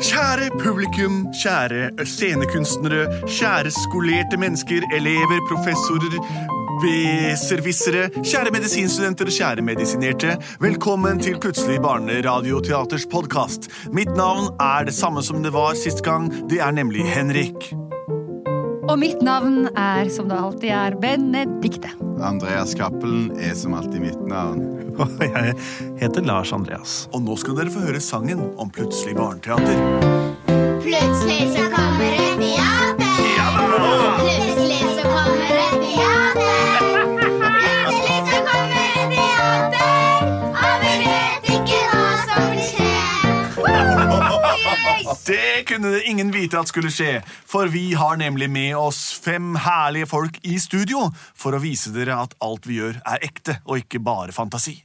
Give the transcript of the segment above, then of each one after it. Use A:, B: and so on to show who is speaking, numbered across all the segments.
A: Kjære publikum, kjære scenekunstnere, kjære skolerte mennesker, elever, professorer, beservissere, kjære medisinstudenter og kjære medisinerte. Velkommen til Plutselig barneradioteaters podkast. Mitt navn er det samme som det var sist gang, det er nemlig Henrik.
B: Og mitt navn er, som det alltid er, Benedikte.
C: Andreas Cappelen er som alltid mitt navn.
D: Og jeg heter Lars Andreas.
A: Og nå skal dere få høre sangen om Plutselig barneteater.
E: Plutselig så kommer et teater. Plutselig så kommer et teater. Plutselig så kommer et teater, og vi vet ikke hva som vil skje.
A: Det kunne det ingen vite at skulle skje, for vi har nemlig med oss fem herlige folk i studio for å vise dere at alt vi gjør, er ekte og ikke bare fantasi.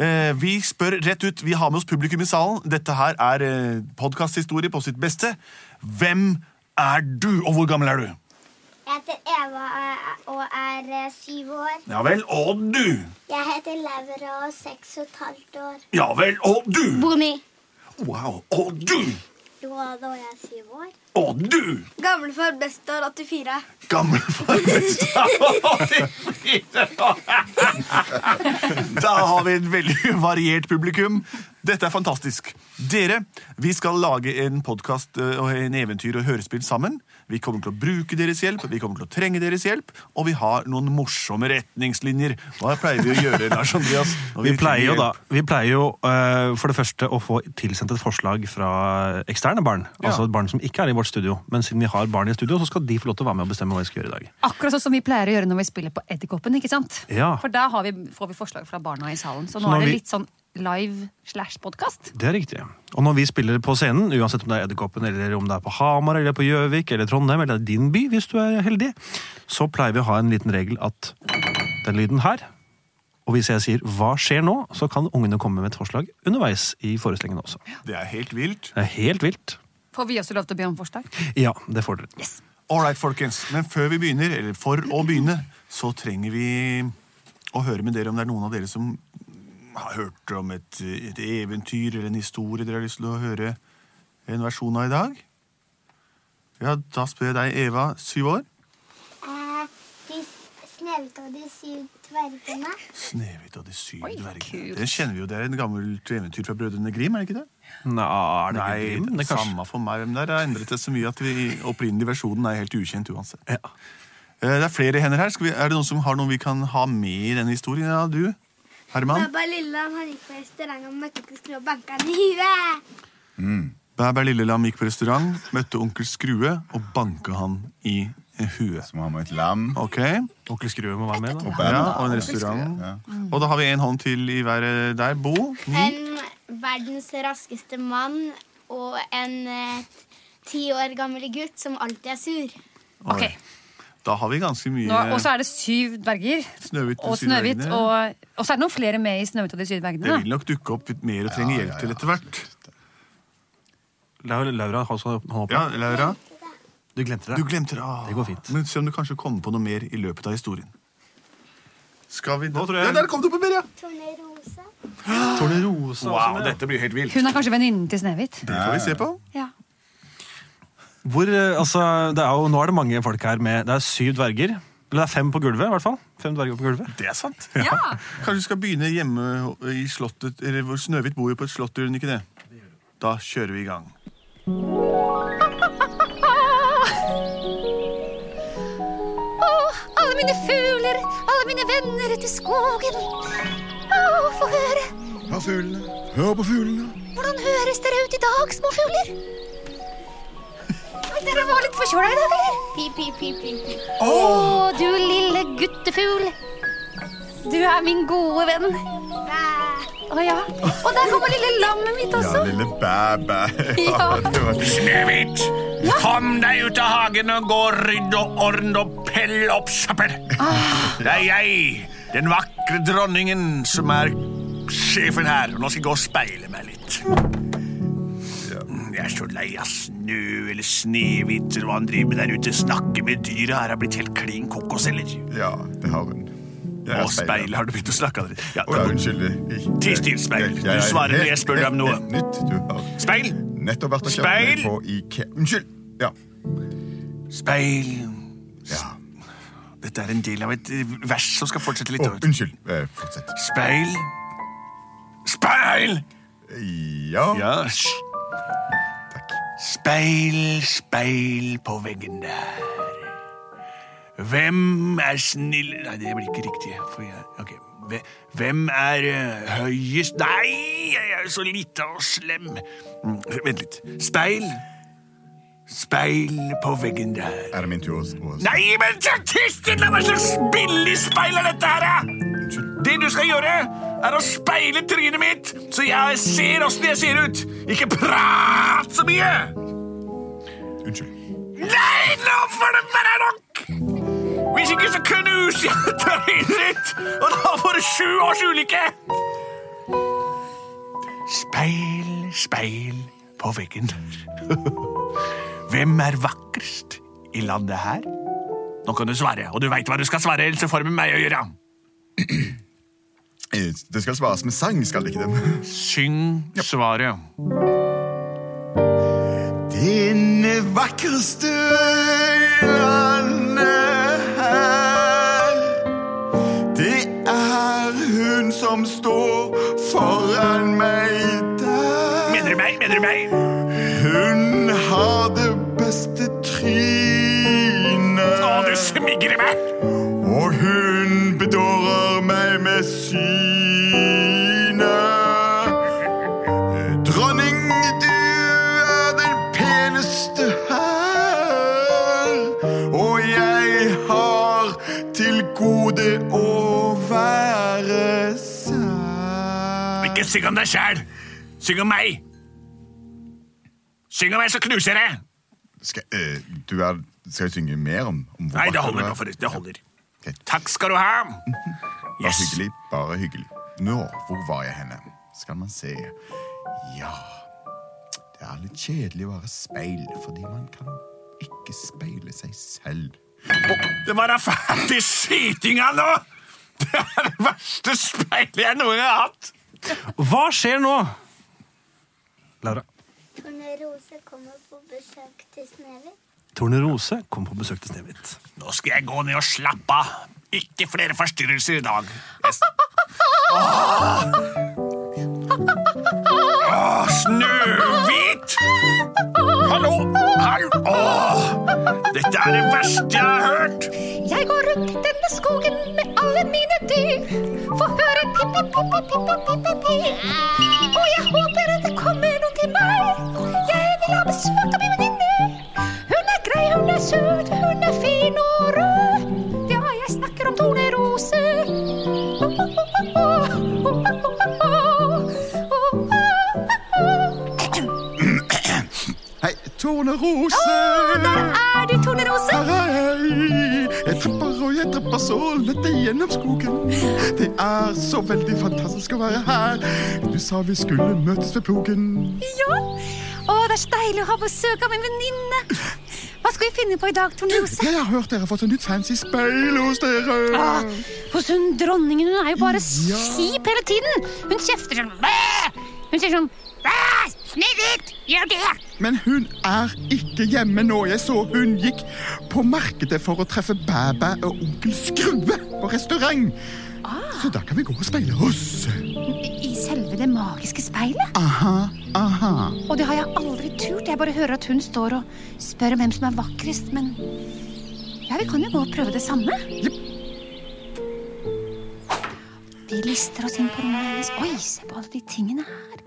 A: Eh, vi spør rett ut, vi har med oss publikum i salen. Dette her er eh, podkasthistorie på sitt beste. Hvem er du, og hvor gammel er du?
E: Jeg heter Eva og er eh, syv år.
A: Ja vel, og du?
E: Jeg heter Laura og er seks og et halvt år.
A: Ja vel, og du?
E: Boni.
A: Wow, og du?
E: Johan og jeg er syv år.
A: Og du?
E: Gamlefar består 84.
A: Gamlefar Bestad 84! Da har vi et veldig variert publikum. Dette er fantastisk. Dere, vi skal lage en podkast og en eventyr og hørespill sammen. Vi kommer til å bruke deres hjelp, vi kommer til å trenge deres hjelp, og vi har noen morsomme retningslinjer. Hva pleier vi å gjøre, Lars Andreas? når
D: Vi pleier jo
A: trenger
D: da,
A: hjelp?
D: vi pleier jo eh, for det første å få tilsendt et forslag fra eksterne barn. Altså barn som ikke er i vårt studio. Men siden vi har barn i studio, så skal de få lov til å være med og bestemme hva vi skal gjøre i dag.
B: Akkurat sånn som vi pleier å gjøre når vi spiller på Edderkoppen. ikke sant?
D: Ja.
B: For da har vi, får vi forslag fra barna i salen. Så nå,
D: nå
B: er det
D: vi-
B: litt sånn live slash podkast.
D: Det er riktig. Og når vi spiller på scenen, uansett om det er Edderkoppen, eller om det er på Hamar, eller på Gjøvik, eller Trondheim, eller din by, hvis du er heldig, så pleier vi å ha en liten regel at den lyden her og hvis jeg sier 'hva skjer nå', så kan ungene komme med et forslag underveis i forestillingen også.
A: Det er helt vilt.
D: Det er helt vilt.
B: Får vi også lov til å be om forslag?
D: Ja, det får dere.
A: Alright, folkens. Men før vi begynner, eller for å begynne, så trenger vi å høre med dere om det er noen av dere som har hørt om et, et eventyr eller en historie dere har lyst til å høre en versjon av i dag. Ja, da spør jeg deg, Eva, syv år.
E: Eh, de snevete og de syv dvergene.
A: Snehvit og de syv
B: Oi,
A: dvergene.
B: kult.
A: Den kjenner vi jo, det er en gammelt eventyr fra Brødrene Grim, er det ikke det?
D: Nei, er det
A: Nei,
D: ikke Grim? Det er kanskje...
A: samme for meg. hvem det er. Det har endret seg så mye at vi opprinnelig versjonen er helt ukjent uansett.
D: Ja.
A: Eh, Det er flere hender her. Skal vi, er det noen som har noe vi kan ha med i denne historien? Ja, du, Herman.
E: Baba Lilleland han gikk på restaurant og møtte onkel Skrå og banka han i huet.
A: Bæbær Lillelam gikk på restaurant, møtte onkel Skrue og banka han i eh, huet.
C: Som har med et lam.
A: Ok,
D: Onkel Skrue må være med, da.
A: ja, Og en restaurant. Og da har vi en hånd til i været der. Bo. Ni.
E: En verdens raskeste mann og en eh, ti år gammel gutt som alltid er sur.
B: Ok,
A: Da har vi ganske
B: nå, Og
A: mye
B: så er det syv dverger.
A: Snøhvit og
B: Og Snøhvit.
A: Sydvergene.
B: Og, og så er det noen flere med i Snøhvit og de syv
A: Det
B: dvergene.
A: vil
B: da.
A: nok dukke opp litt mer og trenge hjelp til etter hvert.
D: Laura, Laura har også hånda oppe.
A: Ja, Laura?
D: Du glemte
A: Du
D: det.
A: glemte det. Ah.
D: Det går fint.
A: Men se om du kanskje kommer på noe mer i løpet av historien. Skal vi
D: Nå tror jeg-
A: Ja, der kom det på mer, ja!
E: Tornerose.
D: Tornerose.
A: Wow, dette blir helt vilt.
B: Hun er kanskje venninnen til Snehvit.
A: Det får vi se på.
B: Ja.
D: Hvor, eh, altså, det er jo, nå er det mange folk her med Det er syv dverger. Eller det er fem på gulvet, i hvert fall. Fem dverger på gulvet.
A: Det er sant.
B: Ja.
A: Kanskje vi skal begynne hjemme i slottet, eller hvor Snøhvit bor jo på et slott, gjør hun ikke det? Da kjører vi i gang.
F: Å, alle mine fugler, alle mine venner ute i skogen. Å, få høre.
C: Hør fuglene. Hør på fuglene.
F: Hvordan høres dere ut i dag, små fugler? Dere var litt forkjøla i dag, eller?
B: Pip, pip, pip, pip, pip.
F: Å, du lille guttefugl. Du er min gode venn.
B: Bæ.
F: Å ja. Og der kommer lille lammet mitt
C: Ja,
F: også.
C: lille bæ-bæ.
F: Ja.
C: det var
G: Snehvit! Kom deg ut av hagen og gå og rydd og ordn og pell opp søppel! Det er jeg, den vakre dronningen, som er sjefen her. Og nå skal jeg gå og speile meg litt. Jeg er så lei av snø eller Snehvit eller hva han driver med der ute. Snakke med dyra her har blitt helt klin kokos, eller?
C: Ja, det har hun. Jeg er
G: Og speil har du begynt å snakke av. Ja,
C: Å, ja, unnskyld. jeg-
G: Ti still, speil.
C: Jeg- jeg-
G: Du svarer når
C: helt-
G: jeg spør deg om noe.
C: helt Nytt, du har
G: speil!
C: nettopp vært og kjøpt
G: Speil!
C: meg på Ikea. Unnskyld. Ja.
G: Speil!
C: ja.
G: Dette er en del av et eh, vers som skal fortsette litt.
C: Å, unnskyld. Eh, fortsett.
G: Speil! Speil!
C: Ja.
G: Ja, hysj.
C: Takk.
G: Speil, speil på veggen der. Hvem er snill... Nei, det blir ikke riktig. For jeg, ok. Hve- Hvem er eh, høyest Nei, jeg er jo så lita og slem. Mm, Vent litt. Speil. Speil på veggen der.
C: Er det min tur å å-
G: Nei, men Kristin, hva slags billig speil er dette her? da?
C: Unnskyld.
G: Det du skal gjøre, er å speile trynet mitt, så jeg ser åssen jeg ser ut. Ikke prat så mye!
C: Unnskyld.
G: Nei, nå får det være nok! Hvis ikke, så knuser jeg trynet ditt, og da får du sju års ulykke! Speil, speil på veggen. Hvem er vakrest i landet her? Nå kan du svare, og du veit hva du skal svare, ellers så får det med meg å gjøre.
C: Eh, Det skal svares med sang, skal det ikke det?
G: Syng svaret.
C: Denne vakreste landet her Det er hun som står foran meg der
G: Mener du meg? Mener du meg?
C: Hun har det beste trynet
G: Å, du smigrer meg!
C: Og hun bedårer meg med sine Dronning, du er den peneste her Og jeg har til gode å være sær
G: Ikke syng om deg sjæl! Syng om meg! Syng om meg, så knuser jeg!
C: Skal, eh, du er, skal jeg synge mer om, om hvor
G: Nei,
C: vakker
G: det holder
C: du er?
G: nå, forresten. Det holder.
C: Ok,
G: Takk skal du ha!
C: Bare
G: Yes.
C: hyggelig, bare hyggelig. Nå, hvor var jeg henne? Skal man se. Ja, det er litt kjedelig å være speil, fordi man kan ikke speile seg selv.
G: Det var da ferdig sytinga nå! Det er det verste speilet jeg noen gang har hatt!
D: Hva skjer nå? Laura.
E: Tornerose kommer på besøk til Snehvit.
D: Tornerose kom på besøk til Snehvit.
G: Nå skal jeg gå ned og slappe av. Ikke flere forstyrrelser i dag. Jeg s- Åh, Snøhvit! Hallo! Hallo! Åh, dette er det verste jeg har hørt.
F: Jeg går rundt i denne skogen med alle mine dyr. Få høre pip, pip, pip, pip, pip, pip, pip, pip, pip. Og jeg håper at det kommer noen til meg. Jeg vil ha besøk av min venninne. Hun er grei, hun er søt, hun er fin og rød. Ja, jeg snakker om torneroser. Å, å, å, å, å, å, å, å, å, å.
C: Hei, Tornerose!
F: Er du tornerose?
C: Her er jeg. Jeg trapper og jeg trapper så lett gjennom skogen. Det er så veldig fantastisk å være her. Du sa vi skulle møtes ved plogen.
F: Ja. Å, det er så deilig å ha besøk av min venninne. Hva skal vi finne på i dag, Tornerose?
C: Jeg har hørt dere har fått en nytt fancy speil hos dere.
F: Ah, hos hun dronningen hun er jo bare
C: Ja.
F: kjip hele tiden. Hun kjefter sånn «Bæ!» Hun sier sånn «Bæ! Snehvit, gjør det!
C: Men hun er ikke hjemme nå. Jeg så hun gikk på markedet for å treffe Bæbæ og onkel Skrue på restaurant.
H: Ah.
C: Så da kan vi gå og speile oss.
F: I selve det magiske speilet?
C: Aha.
H: Og det har jeg aldri turt. Jeg bare hører at hun står og spør om hvem som er vakrest, men Ja, vi kan jo gå og prøve det samme. Vi lister oss inn på rommet hennes. Oi, se på alle de tingene her.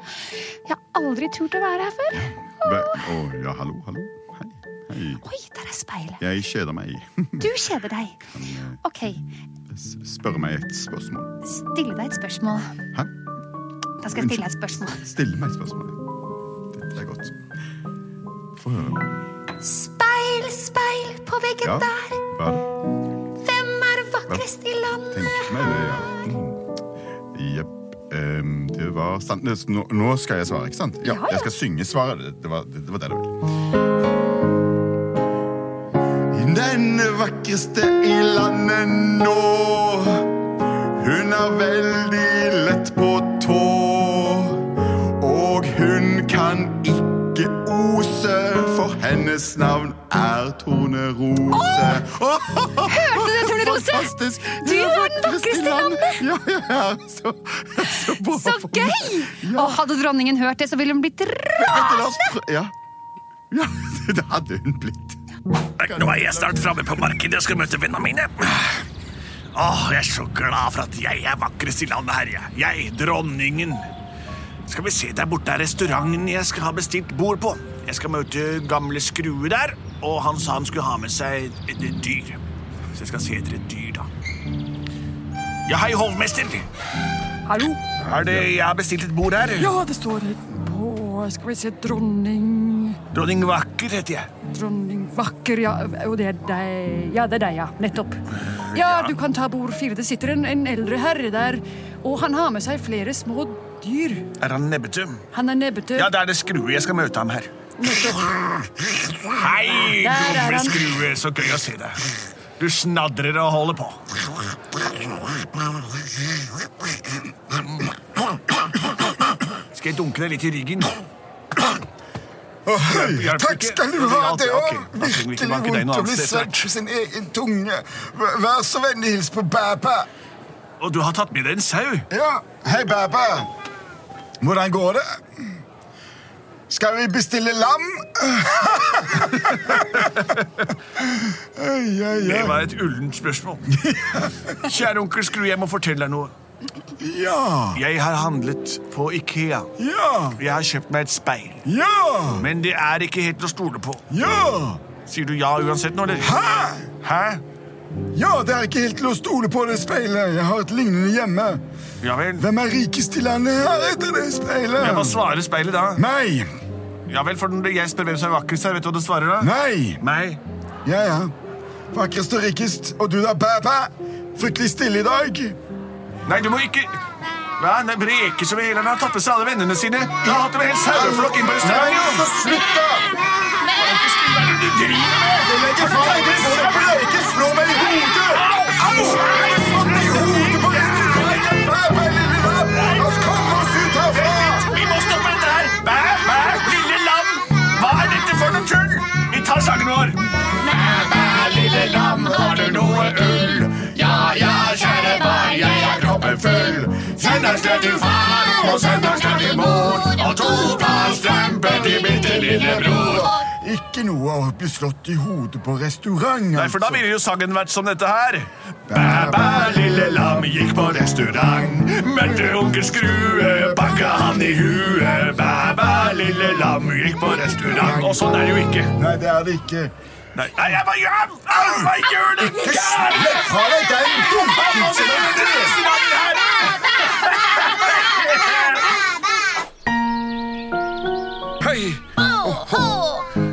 H: Jeg har aldri turt å være her før.
C: Hva? Å, ja, hallo, hallo. Hei. Hei.
H: Oi, der er speilet.
C: Jeg kjeder meg.
H: Du kjeder deg. Ok,
C: S- Spør meg et spørsmål.
H: stille deg et spørsmål.
C: Hæ?
H: Da skal jeg stille deg et spørsmål.
C: Stille meg et spørsmål. Dette er godt. Få høre.
F: Speil, speil på veggen
C: Ja,
F: der.
C: hva er det?
F: Hvem er vakrest i landet?
C: Tenkte meg det, ja. Mm. Jepp. Ehm, det var sant. Nå, nå skal jeg svare, ikke sant? Ja, jeg skal synge svaret. Det, det, var, det, det var det det ville. Den vakreste i landet nå. Hun er veldig lett på tå. Og hun kan ikke ose, for hennes navn er Tornerose. Hørte
H: du det, Tornerose?
C: Fantastisk!
H: Du
C: Hun
H: er den
C: vakrest i
H: vakreste i
C: Ja, ja, ja. Så, så, bra
H: Så
C: for meg.
H: gøy!
C: Ja.
H: Og hadde dronningen hørt det, så ville hun blitt
C: Vent
H: rasende.
C: til, la oss prø- Ja. ja, det hadde hun blitt.
D: Nei, Nå er jeg snart framme på markedet og skal møte vennene mine. Åh, jeg er så glad for at jeg er vakrest i landet her, jeg. Jeg, dronningen. Skal vi se, der borte er restauranten jeg skal ha bestilt bord på. Jeg skal møte gamle Skrue der, og han sa han skulle ha med seg et, et dyr. Så jeg skal se etter et dyr, da. Ja, hei, hovmester.
B: Hallo?
D: Er det jeg har bestilt et bord her?
B: Ja, det står på Skal vi se Dronning
D: Dronning Vakker heter jeg.
B: Dronning Vakker, ja. Og det er deg. Ja, det er deg, ja. Nettopp. Ja, du kan ta bord fire. Det sitter en, en eldre herre der, og han har med seg flere små dyr.
D: Er han nebbete?
B: Han er nebbete.
D: Ja, det er det Skrue. Jeg skal møte ham her.
B: Nettopp.
D: Hei,
B: Der er
D: gamle
B: han.
D: skrue, så gøy å se deg. Du snadrer og holder på. Skal jeg dunke deg litt i ryggen? hjelper
I: Takk
D: ikke.
I: skal du ha.
D: Ok,
I: Det
D: ok.
I: var
D: Da trenger vi ikke
I: virkelig
D: banke deg noe
I: vondt å
D: annet
I: bli
D: sted
I: sett på sin egen tunge. V- Vær så vennlig, hils på Bæbæ.
D: Og du har tatt med deg en sau.
I: Ja, hei, Bæbæ. Hvordan går det? Skal vi bestille lam? Ai, ai,
D: Det
I: ai.
D: var et ullent spørsmål. Kjære onkel Skrue, jeg må fortelle deg noe.
I: Ja,
D: Jeg har handlet på Ikea.
I: ja,
D: Jeg har kjøpt meg et speil.
I: ja,
D: Men det er ikke helt til å stole på.
I: ja.
D: Sier du ja uansett nå, eller?
I: Hæ?
D: Hæ?
I: Ja, det er ikke helt til å stole på det speilet. Jeg har et lignende hjemme.
D: Ja vel.
I: Hvem er rikest i landet her etter det
D: Ja, Hva
I: speilet?
D: svarer speilet da?
I: Meg.
D: Ja vel, for når jeg spør hvem som er vakrest her, vet du hva du svarer da?
I: Nei.
D: Meg.
I: Ja, ja. Vakrest og rikest. Og du da, bæ-bæ? Fryktelig stille i dag.
D: Nei, du må ikke Hva? Nei, Breke som i hele han har tatt med seg alle vennene sine. Du har hatt med en hel saueflokk inn på
I: Nei, så
A: altså,
D: restauranten.
I: slutt, da!
D: Hva er det du altså, driver med?
I: Jeg legger fra meg det søppelet! Ikke slå meg i hodet! Au! Jeg har fått i hodet på restauranten! Bæ-bæ, lille lam! La oss komme oss ut herfra!
D: Vi må stoppe dette her! Bæ, bæ, lille lam! Hva er dette for noe tull? Vi tar sangen vår. Bæ, bæ, lille lam, har du noe ull? Ja, ja, kjære bæ, jeg er kroppen full. Søndag skal til far, og søndag skal til mor. Og to par strømper til bitte lille bror.
I: Ikke noe å bli slått i hodet på restaurant,
D: Nei, for da ville jo sangen vært som dette her. Bæ, bæ, lille lam gikk på restaurant. Møtte onkel Skrue, banka han i huet. Bæ, bæ, lille lam gikk på restaurant. Og sånn er det jo ikke.
I: Nei, det er det ikke.
D: Nei, Nei jeg bare gjør Au, Hva gjør du?
I: Legg fra deg den dumpelsen!
D: Hei,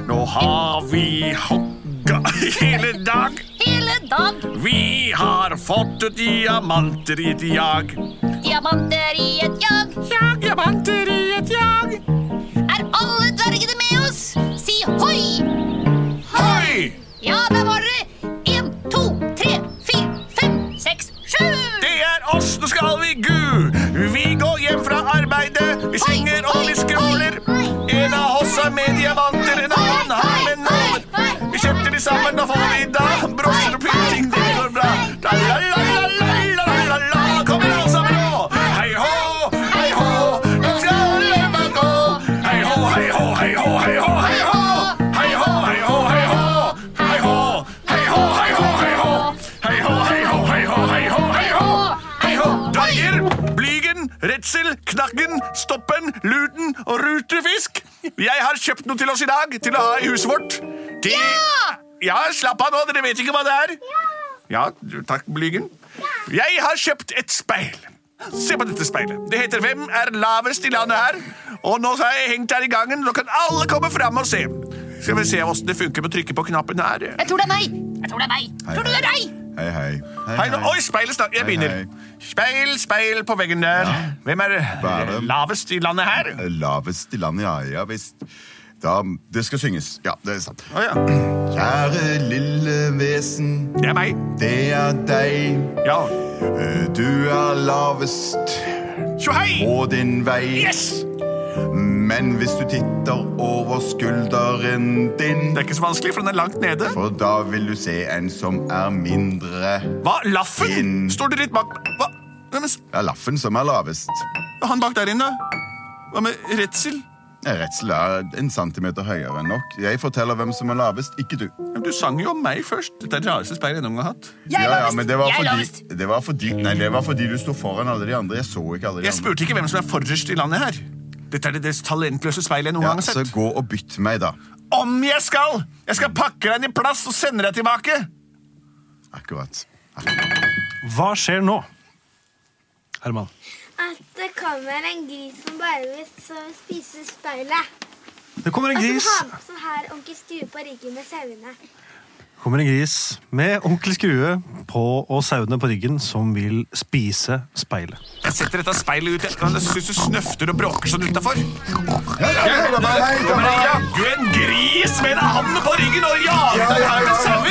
D: nå har vi hogga hele dag.
F: Hele dag
D: Vi har fått ut diamanter i et jag.
F: diamanter i et jag.
D: Jag, diamanter i et jag.
F: Er alle dvergene med oss? Si hoi!
D: Hei!
F: Ja, der var dere. Én, to, tre, fire, fem, seks, sju.
D: Det er oss, nå skal vi gu! Vi går hjem fra arbeidet, vi synger og vi skråler. En av oss har med diamanter, en annen har med nåler. Vi kjøpte de sammen, da får vi da brosjer og pynting, det går bra. La, la, la, la, la, la, la, la, kommer alle sammen nå. Hei hå, hei hå, nå skal alle bare gå. Hei hei hå! Hei hå, hei hå, hei hå! Hei hå, hei hå, hei hå, hei hå! Hei hå, hei hå, hei hå, hei hå, hei hå! Hei hå! Deier, Blygen, Redsel, Knaggen, Stoppen, Luten og Rutefisk. Jeg har kjøpt noe til oss i dag, til å ha i huset vårt. De... Ja! Ja, slapp av nå, dere vet ikke hva det er. Ja, du- takk, Blygen. Jeg har kjøpt et speil. Se på dette speilet. Det heter 'Hvem er lavest i landet her?' Og nå har jeg hengt her i gangen. Nå kan alle komme fram og se. Skal vi se åssen det funker med å trykke på knappen her.
B: Jeg tror det er meg! Jeg tror det er meg! Tror du det er deg?
C: Hei, hei.
G: Hei, nå, oi, speilet snart. Jeg begynner. Speil, speil på veggen der. Hvem er eh, lavest i landet her?
C: Eh, Lavest i landet, ja. Ja visst. Da, det skal synges. Ja, det er sant.
G: Å, ja.
C: Kjære lille vesen.
G: Det er meg.
C: Det er deg. Eh,
G: Ja.
C: Du er lavest på din vei.
D: Yes!
C: Men hvis du titter over skulderen din
G: Det er ikke så vanskelig, for den er langt nede.
C: For da vil du se en som er mindre
G: Hva? Laffen? Står det litt bak Hva? Hvem er s-
C: Det er laffen som er lavest.
G: han bak der inne? Hva med redsel?
C: Eh, Redsel er en centimeter høyere enn nok. Jeg forteller hvem som er lavest, ikke du.
G: Du sang jo om meg først. Dette er det rareste speilet jeg noen gang har hatt.
C: ja, ja, men det var
G: Jeg er lavest.
C: fordi, det var fordi Nei, det var fordi du sto foran alle de andre. Jeg så ikke alle de
G: Jeg spurte ikke hvem som er forrest i landet her. Dette er det des talentløse speilet jeg noen gang
C: andre.
G: har
C: Ja, så
G: sett.
C: gå og bytt meg, da.
G: Om jeg skal! Jeg skal pakke deg inn i plast og sende deg tilbake.
C: Akkurat.
J: Hva skjer nå? Herman.
E: At det kommer en gris som bare vil så- spise speilet.
J: Det kommer en
E: Og som
J: gris.
E: har med sånn her onkel Stue på ryggen med sauene.
J: kommer en gris med onkel Skrue på og sauene på ryggen som vil spise speilet.
G: Jeg setter dette speilet ut. Jeg- Jeg syns du snøfter og bråker sånn utafor. Jaggu en gris med en and på ryggen og jager deg her med sauer!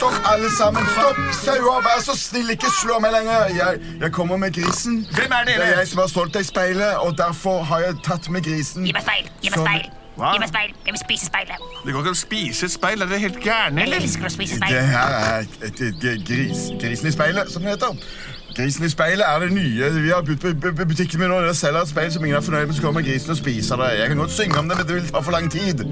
C: Stopp, alle sammen. Stopp, sauer. Vær så snill, ikke slå meg lenger. Jeg, jeg kommer med grisen.
G: Hvem er dere?
C: Det er jeg som har stolt deg speilet, og derfor har jeg tatt med grisen. Sånn.
F: Gi meg speil! Gi meg
C: Som-
F: speil!
G: Hva?
F: Gi meg speil! Jeg vil spise speilet.
G: Det går ikke an å spise et speil. Er dere helt gærne, eller?
F: Jeg elsker å spise
C: Det
F: speil.
C: her er et, et, et gris, Grisen i speilet, som det heter. Grisen i speilet er det nye vi har budt på bu- bu- butikken min. nå. Jeg selger et speil som ingen er fornøyd med, så kommer grisen og spiser det. Jeg kan godt synge om det, men det vil ta for lang tid.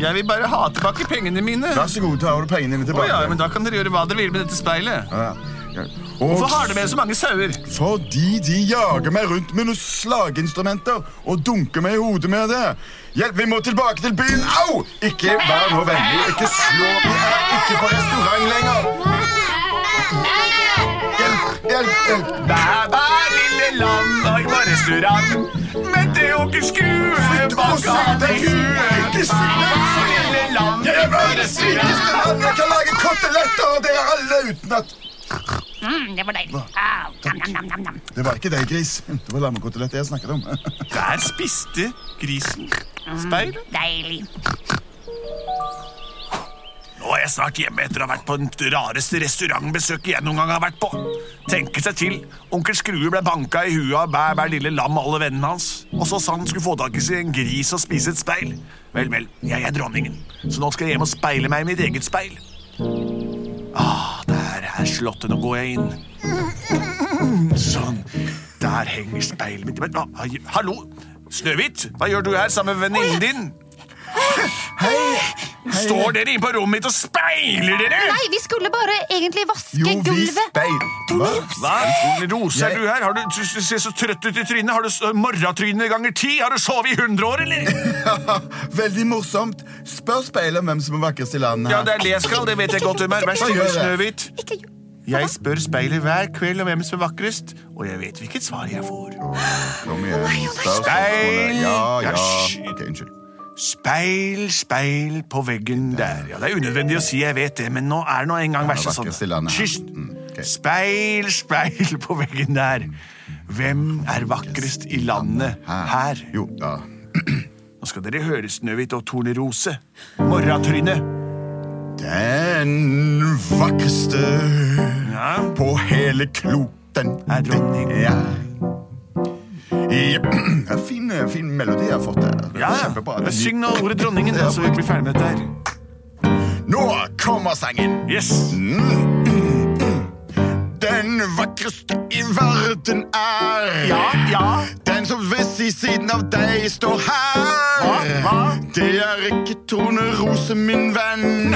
G: Jeg vil bare ha tilbake pengene mine.
C: Vær så god, ta over pengene dine
G: Å
C: tilbake.
G: ja, men Da kan dere gjøre hva dere vil med dette speilet.
C: Ja, ja. Og
G: Hvorfor har dere med så mange sauer?
C: Fordi de jager meg rundt med noen slaginstrumenter og dunker meg i hodet med det. Hjelp, vi må tilbake til byen. Au! Ikke vær nå vennlig. Ikke slå. Vi er ikke på restaurant lenger. Hjelp, hjelp, hjelp.
G: Bæ, bæ, lille lam, oi, på restaurant. Møtte onkel Skrue, banka deg i huet.
C: Ikke sitt
G: Bæ,
C: ned.
G: bæ, lille lam,
C: Jeg er
G: på
C: verdens rikeste
G: restaurant.
C: mann. Jeg kan lage koteletter, og det er alle uten at
F: Mm, det var deilig. Au, nam, nam, nam, nam, nam.
C: Det var ikke deg, gris. Det var lammekoteletter jeg snakket om.
G: Der spiste grisen speilet.
F: Deilig.
G: Nå er jeg snart hjemme etter å ha vært på den rareste restaurantbesøket jeg noen gang har vært på. Tenke seg til. Onkel Skrue ble banka i huet av bæ, bæ, lille lam og alle vennene hans. Og så sa han skulle få tak i seg en gris og spise et speil. Vel, vel, jeg er dronningen, så nå skal jeg hjem og speile meg i mitt eget speil. Ah, der er slottet. Nå går jeg inn. Sånn. Der henger speilet mitt. Men, ah, hallo, Snøhvit, hva gjør du her sammen med venninnen din? Står dere inne på rommet mitt og speiler dere?
B: Nei, vi skulle bare egentlig vaske gulvet.
C: speil...
G: Hva? Rose, er du her? Har du, du, du ser så trøtt ut i trynet. Har du s- morratryne ganger ti? Har du sovet i 100 år, eller?
C: Veldig morsomt. Spør speilet om hvem som er vakrest i landet.
G: Ja,
C: her.
G: det er det jeg skal. Det vet jeg godt hvem er. Vær så
C: Hva gjør
G: god,
C: jeg?
G: Snøhvit.
B: Ikke gjør
G: Jeg spør speilet hver kveld om hvem som er vakrest, og jeg vet hvilket svar jeg får.
C: Kom igjen. Spør spørsmålet.
G: Speil!
C: Ja, ja.
G: Ja, hysj.
C: Ok, unnskyld.
G: Speil, speil på veggen der. Ja, Det er unødvendig å si jeg vet det, men nå er det nå en gang
C: Ja,
G: verst sånn.
C: vakrest i landet her.
G: Hysj.
C: Mm, ok.
G: Speil, speil på veggen der. Hvem er vakrest i landet her?
C: Jo, ja.
G: Nå skal dere høre Snøhvit og Tornerose. Morratryne.
C: Den vakreste
G: Ja.
C: på hele kloten.
G: Er dronning.
C: Ja. Jepp. Ja, Fin, fin melodi jeg har fått der. Det er
G: Ja,
C: Kjempebra.
G: ja. Syng nå ordet dronningen, da, så vi blir ferdig med dette her.
C: Nå kommer sangen.
G: Yes.
C: den vakreste i verden er.
I: Ja, ja.
C: Den som ved si- siden av deg står her. Det er ikke Tone Rose, min venn,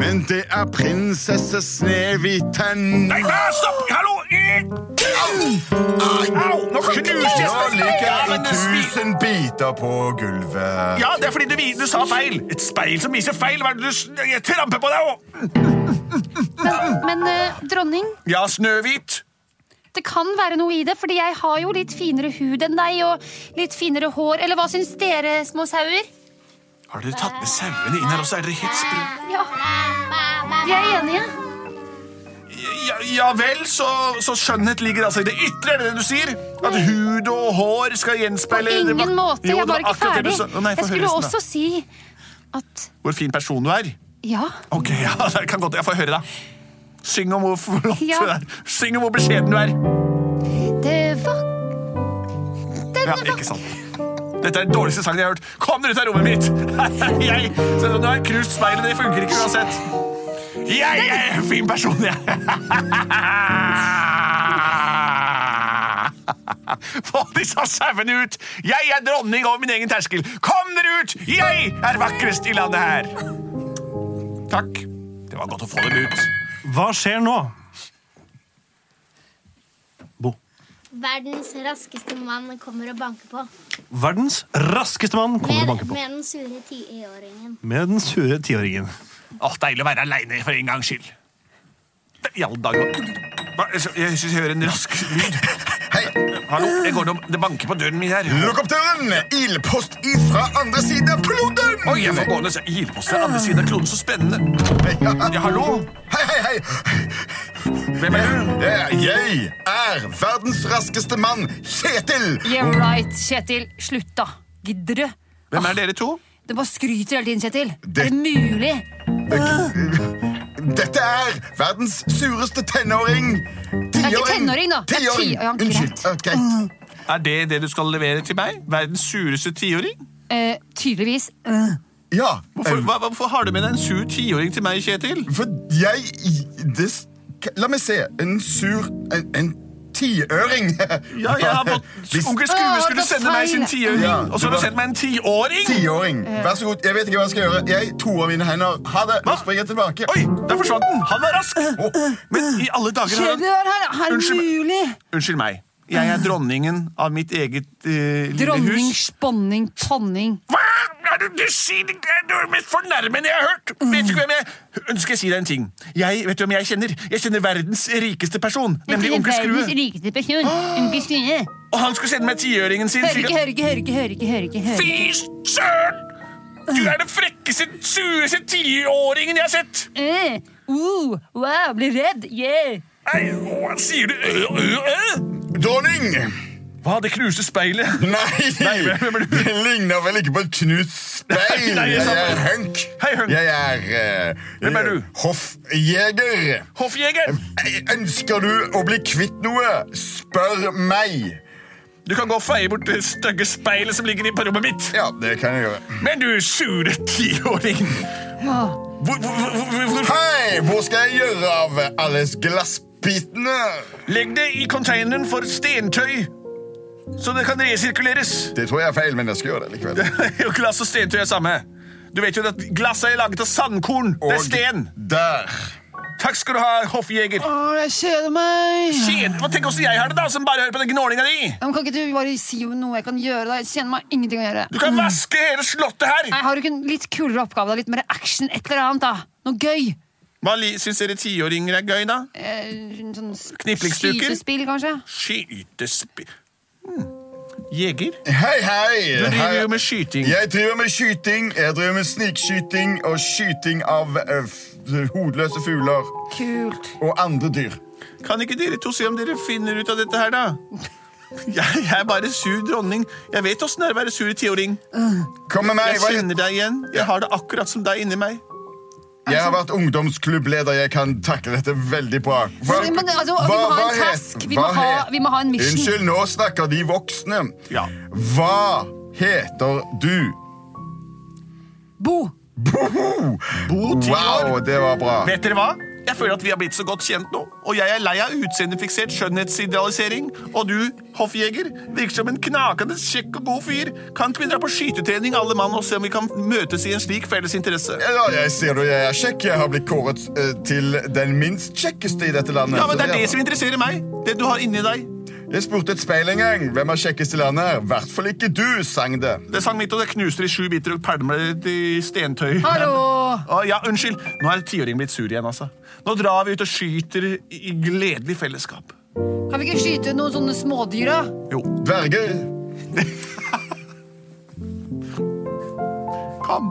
C: men det er prinsesse Sneviten.
I: Nei, hva? Stopp! Hallo! Au! Nå knuses
C: Nå
I: det!
C: ligger
I: Ja,
C: jeg
I: men
C: i
I: det svir.
C: tusen biter på gulvet.
D: Ja, det er fordi du, vi- du sa feil. Et speil som viser feil. Hva er det du s- Jeg tramper på deg òg!
H: Men, men eh, dronning,
D: Ja, Snøhvit.
H: det kan være noe i det, fordi jeg har jo litt finere hud enn deg, og litt finere hår, eller hva syns dere, små sauer?
A: Har dere tatt med sauene inn her også? Er dere helt sprø?
H: Ja. Vi er enige.
D: Ja, ja vel, så, så skjønnhet ligger altså i det ytre, er det det du sier? At hud og hår skal gjenspeile
H: På
D: det var-
H: ingen måte.
D: Jo,
H: Jeg
D: det
H: var ikke
D: akkurat det du
H: ferdig.
D: sa. Å, nei,
H: Jeg
D: få høre
H: skulle
D: resten, da.
H: også si at
D: Hvor fin person du er.
H: ja.
D: Ok, ja, det kan godt Jeg får høre, da. Syng om hvor flott
H: Ja.
D: du er. Syng om hvor beskjeden du er.
H: Det var
D: Ja, ikke sant. Dette er den dårligste sangen jeg har hørt. Kom dere ut av rommet mitt! Jeg, så nå har jeg knust speilet, det funker ikke uansett. Jeg er en fin person, jeg. Få disse sauene ut! Jeg er dronning over min egen terskel. Kom dere ut! Jeg er vakrest i landet her. Takk. Det var godt å få dem ut.
K: Hva skjer nå?
L: Verdens raskeste mann kommer og banker på.
K: Verdens raskeste mann kommer
L: Med,
K: og banker på.
L: med den sure tiåringen.
K: Med den sure tiåringen.
D: Åh, Deilig å være aleine for en gangs skyld. Det- I alle dager. Hva? Jeg sy- Jeg syns jeg hører en rask lyd. Hei! Hallo, jeg går om. Det banker på døren min her.
C: Lukk opp døren! Ildpost ifra andre siden av kloden!
D: Oi, jeg får gående se- ildpost fra andre siden av kloden. Så spennende. Ja, hallo?
C: Hei, hei, hei!
D: Hvem er du?
C: Jeg er verdens raskeste mann, Kjetil!
B: Yeah right, Kjetil. Slutt, da. Gidder du?
D: Hvem er dere to?
B: Du bare skryter hele tiden, Kjetil. Er det mulig?
C: Dette er verdens sureste tenåring.
B: Det er ikke tenåring, da. Det er
C: Tiåring.
B: ti- ja, greit. Mm.
C: Unnskyld. Ja, greit.
D: Er det det du skal levere til meg? Verdens sureste tiåring?
B: Eh, tydeligvis.
C: Ja. eh,
D: Hvorfor, hva, hvorfor har du med deg en sur tiåring til meg, Kjetil?
C: For jeg det, sk- La meg se. En sur En, en tiøring.
D: Ja, jeg har fått
C: Hvis-
D: Onkel Skrue skulle sende meg sin tiåring,
C: Ja,
D: og så har
C: du
D: du sendt meg en tiåring?
C: Tiåring.
D: Eh.
C: Vær så god. Jeg vet ikke hva jeg skal gjøre. Jeg toer mine hender. Ha det. Nå springer jeg tilbake.
D: Oi, der forsvant den! Han var rask! Men i alle dager har han-
B: Kjetil, er her, er det
D: Unnskyld meg.
B: mulig?
D: Unnskyld meg. Jeg er dronningen av mitt eget eh, lille
B: Dronning,
D: hus.
B: sponning, tonning.
D: Hva er det du sier? Det er det mest fornærmende jeg har hørt! Vet du ikke hvem jeg Ønsker jeg si deg en ting? Jeg vet du hvem jeg kjenner. Jeg kjenner verdens rikeste person, nemlig onkel Skrue.
B: Verdens rikeste person. Onkel Skrue.
D: Og han skulle sende meg tiøringen sin.
B: Hører
D: slik
B: ikke,
D: at-
B: hører ikke, hører ikke, hører ikke. hører ikke, hører ikke.
D: Fy søren! Du er den frekkeste, sureste tiåringen jeg har sett!
B: Eh, Uh, wow, blir redd. Yeah.
D: Nei, hva sier du? Ø, ø, ø?
C: Dronning!
D: Hva, det knuste speilet?
C: Nei! Det ligner vel ikke på et knust speil.
D: Nei,
C: Jeg
D: sant.
C: er hunk.
D: Hei, Hunk.
C: Jeg er uh,
D: Hvem er du?
C: Hoffjeger.
D: Hoffjegeren!
C: Ønsker du å bli kvitt noe? Spør meg.
D: Du kan gå og feie bort det stygge speilet som ligger i på rommet mitt.
C: Ja, det kan jeg gjøre.
D: Men du sure tiåring! Hvor, hvor, hvor, hvor, hvor?
C: Hei, hvor skal jeg gjøre av alle glassbitene?
D: Legg det i containeren for stentøy, så det kan resirkuleres.
C: Det tror jeg er feil, men jeg skal gjøre det likevel.
D: Og Glass og stentøy er samme. Du vet jo at glass er laget av sandkorn. det er
C: Og
D: sten.
C: Der.
D: Takk skal du ha, hoffjeger.
B: Å, jeg kjeder meg.
D: Kjede. Hva tenk åssen jeg har det, da, som bare hører på den gnålinga di?
B: Ja, men kan ikke du bare si noe jeg kan gjøre? da? Jeg kjenner meg ingenting å gjøre.
D: Du kan vaske hele slottet her.
B: Nei, Har du ikke en litt kulere oppgave? da? Litt mer action? et eller annet da? Noe gøy?
D: Hva li- Syns dere tiåringer er gøy, da?
B: Eh, sånn s-
D: Kniplingsduker?
B: Skytespill, kanskje?
D: Skytespill Hmm. Jeger?
C: Hei, hei.
D: Du driver
C: Hei.
D: jo med skyting.
C: Jeg driver med skyting, jeg driver med snikskyting og skyting av eh, f- hodløse fugler
B: Kult.
C: og andre dyr.
D: Kan ikke dere to se om dere finner ut av dette her, da? Jeg, jeg er bare sur dronning. Jeg vet åssen det er å være sur tiåring.
C: Kom med meg.
D: Jeg
C: Hva heter
D: kjenner deg igjen. Jeg har det akkurat som deg inni meg.
C: Jeg har vært ungdomsklubbleder. Jeg kan takle dette veldig bra.
B: Men- men altså, vi må ha en
C: het-
B: task. Vi
C: hva
B: må ha-
C: het-
B: vi må ha en mission.
C: Unnskyld, nå snakker de voksne.
D: Ja.
C: Hva heter du?
B: Bo!
C: Boho!
D: Bo tiår.
C: Wow, det var bra.
D: Vet dere hva? Jeg
A: Jeg føler at vi har blitt så godt kjent nå, og jeg er lei av utseendefiksert skjønnhetsidealisering. Og du, hoffjeger, virker som en knakende kjekk og god fyr. Kan ikke vi dra på skytetrening, alle mann, og se om vi kan møtes i en slik felles interesse?
C: Ja, jeg ser du jeg er kjekk. Jeg har blitt kåret eh, til den minst kjekkeste i dette landet.
A: Ja, men det er
C: Så,
A: det som interesserer meg. Det du har inni deg.
C: Jeg spurte et speil en gang. Hvem er kjekkest i landet? her? I hvert fall ikke du, sang det.
A: Det sang mitt, og det knuste i sju biter og pælmer det i stentøy.
B: Hallo!
A: Å, ja, unnskyld. Nå er tiåringen blitt sur igjen, altså. Nå drar vi ut og skyter i i gledelig fellesskap.
B: Kan vi ikke skyte noen sånne smådyr, da?
A: Jo.
C: Dverger.
A: Kom.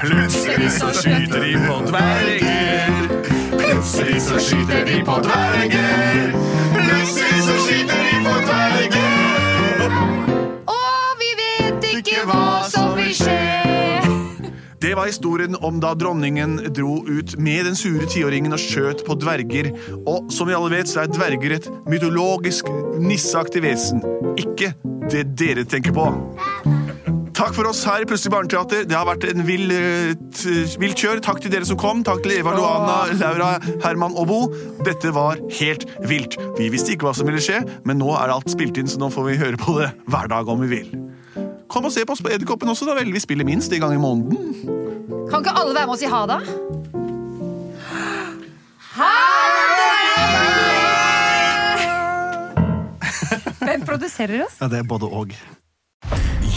A: Plutselig så skyter de på dverger.
I: Plutselig så skyter de på dverger. Plutselig så skyter de på dverger.
F: Og vi vet ikke hva som vil skje.
A: Det var historien om da dronningen dro ut med den sure tiåringen og skjøt på dverger. Og som vi alle vet, så er dverger et mytologisk nisseaktig vesen. Ikke det dere tenker på. Takk for oss her i Plutselig barneteater. Det har vært en vill, eh, t- vilt kjør. Takk til dere som kom. Takk til Eva Loana, Laura, Herman og Bo. Dette var helt vilt. Vi visste ikke hva som ville skje, men nå er alt spilt inn, så nå får vi høre på det hver dag om vi vil. Kom og se på oss på Edderkoppen også, da vel. Vi spiller minst en gang i måneden.
B: Kan ikke alle være med og si ha det?
M: Hvem produserer oss?
K: Ja, det er både og.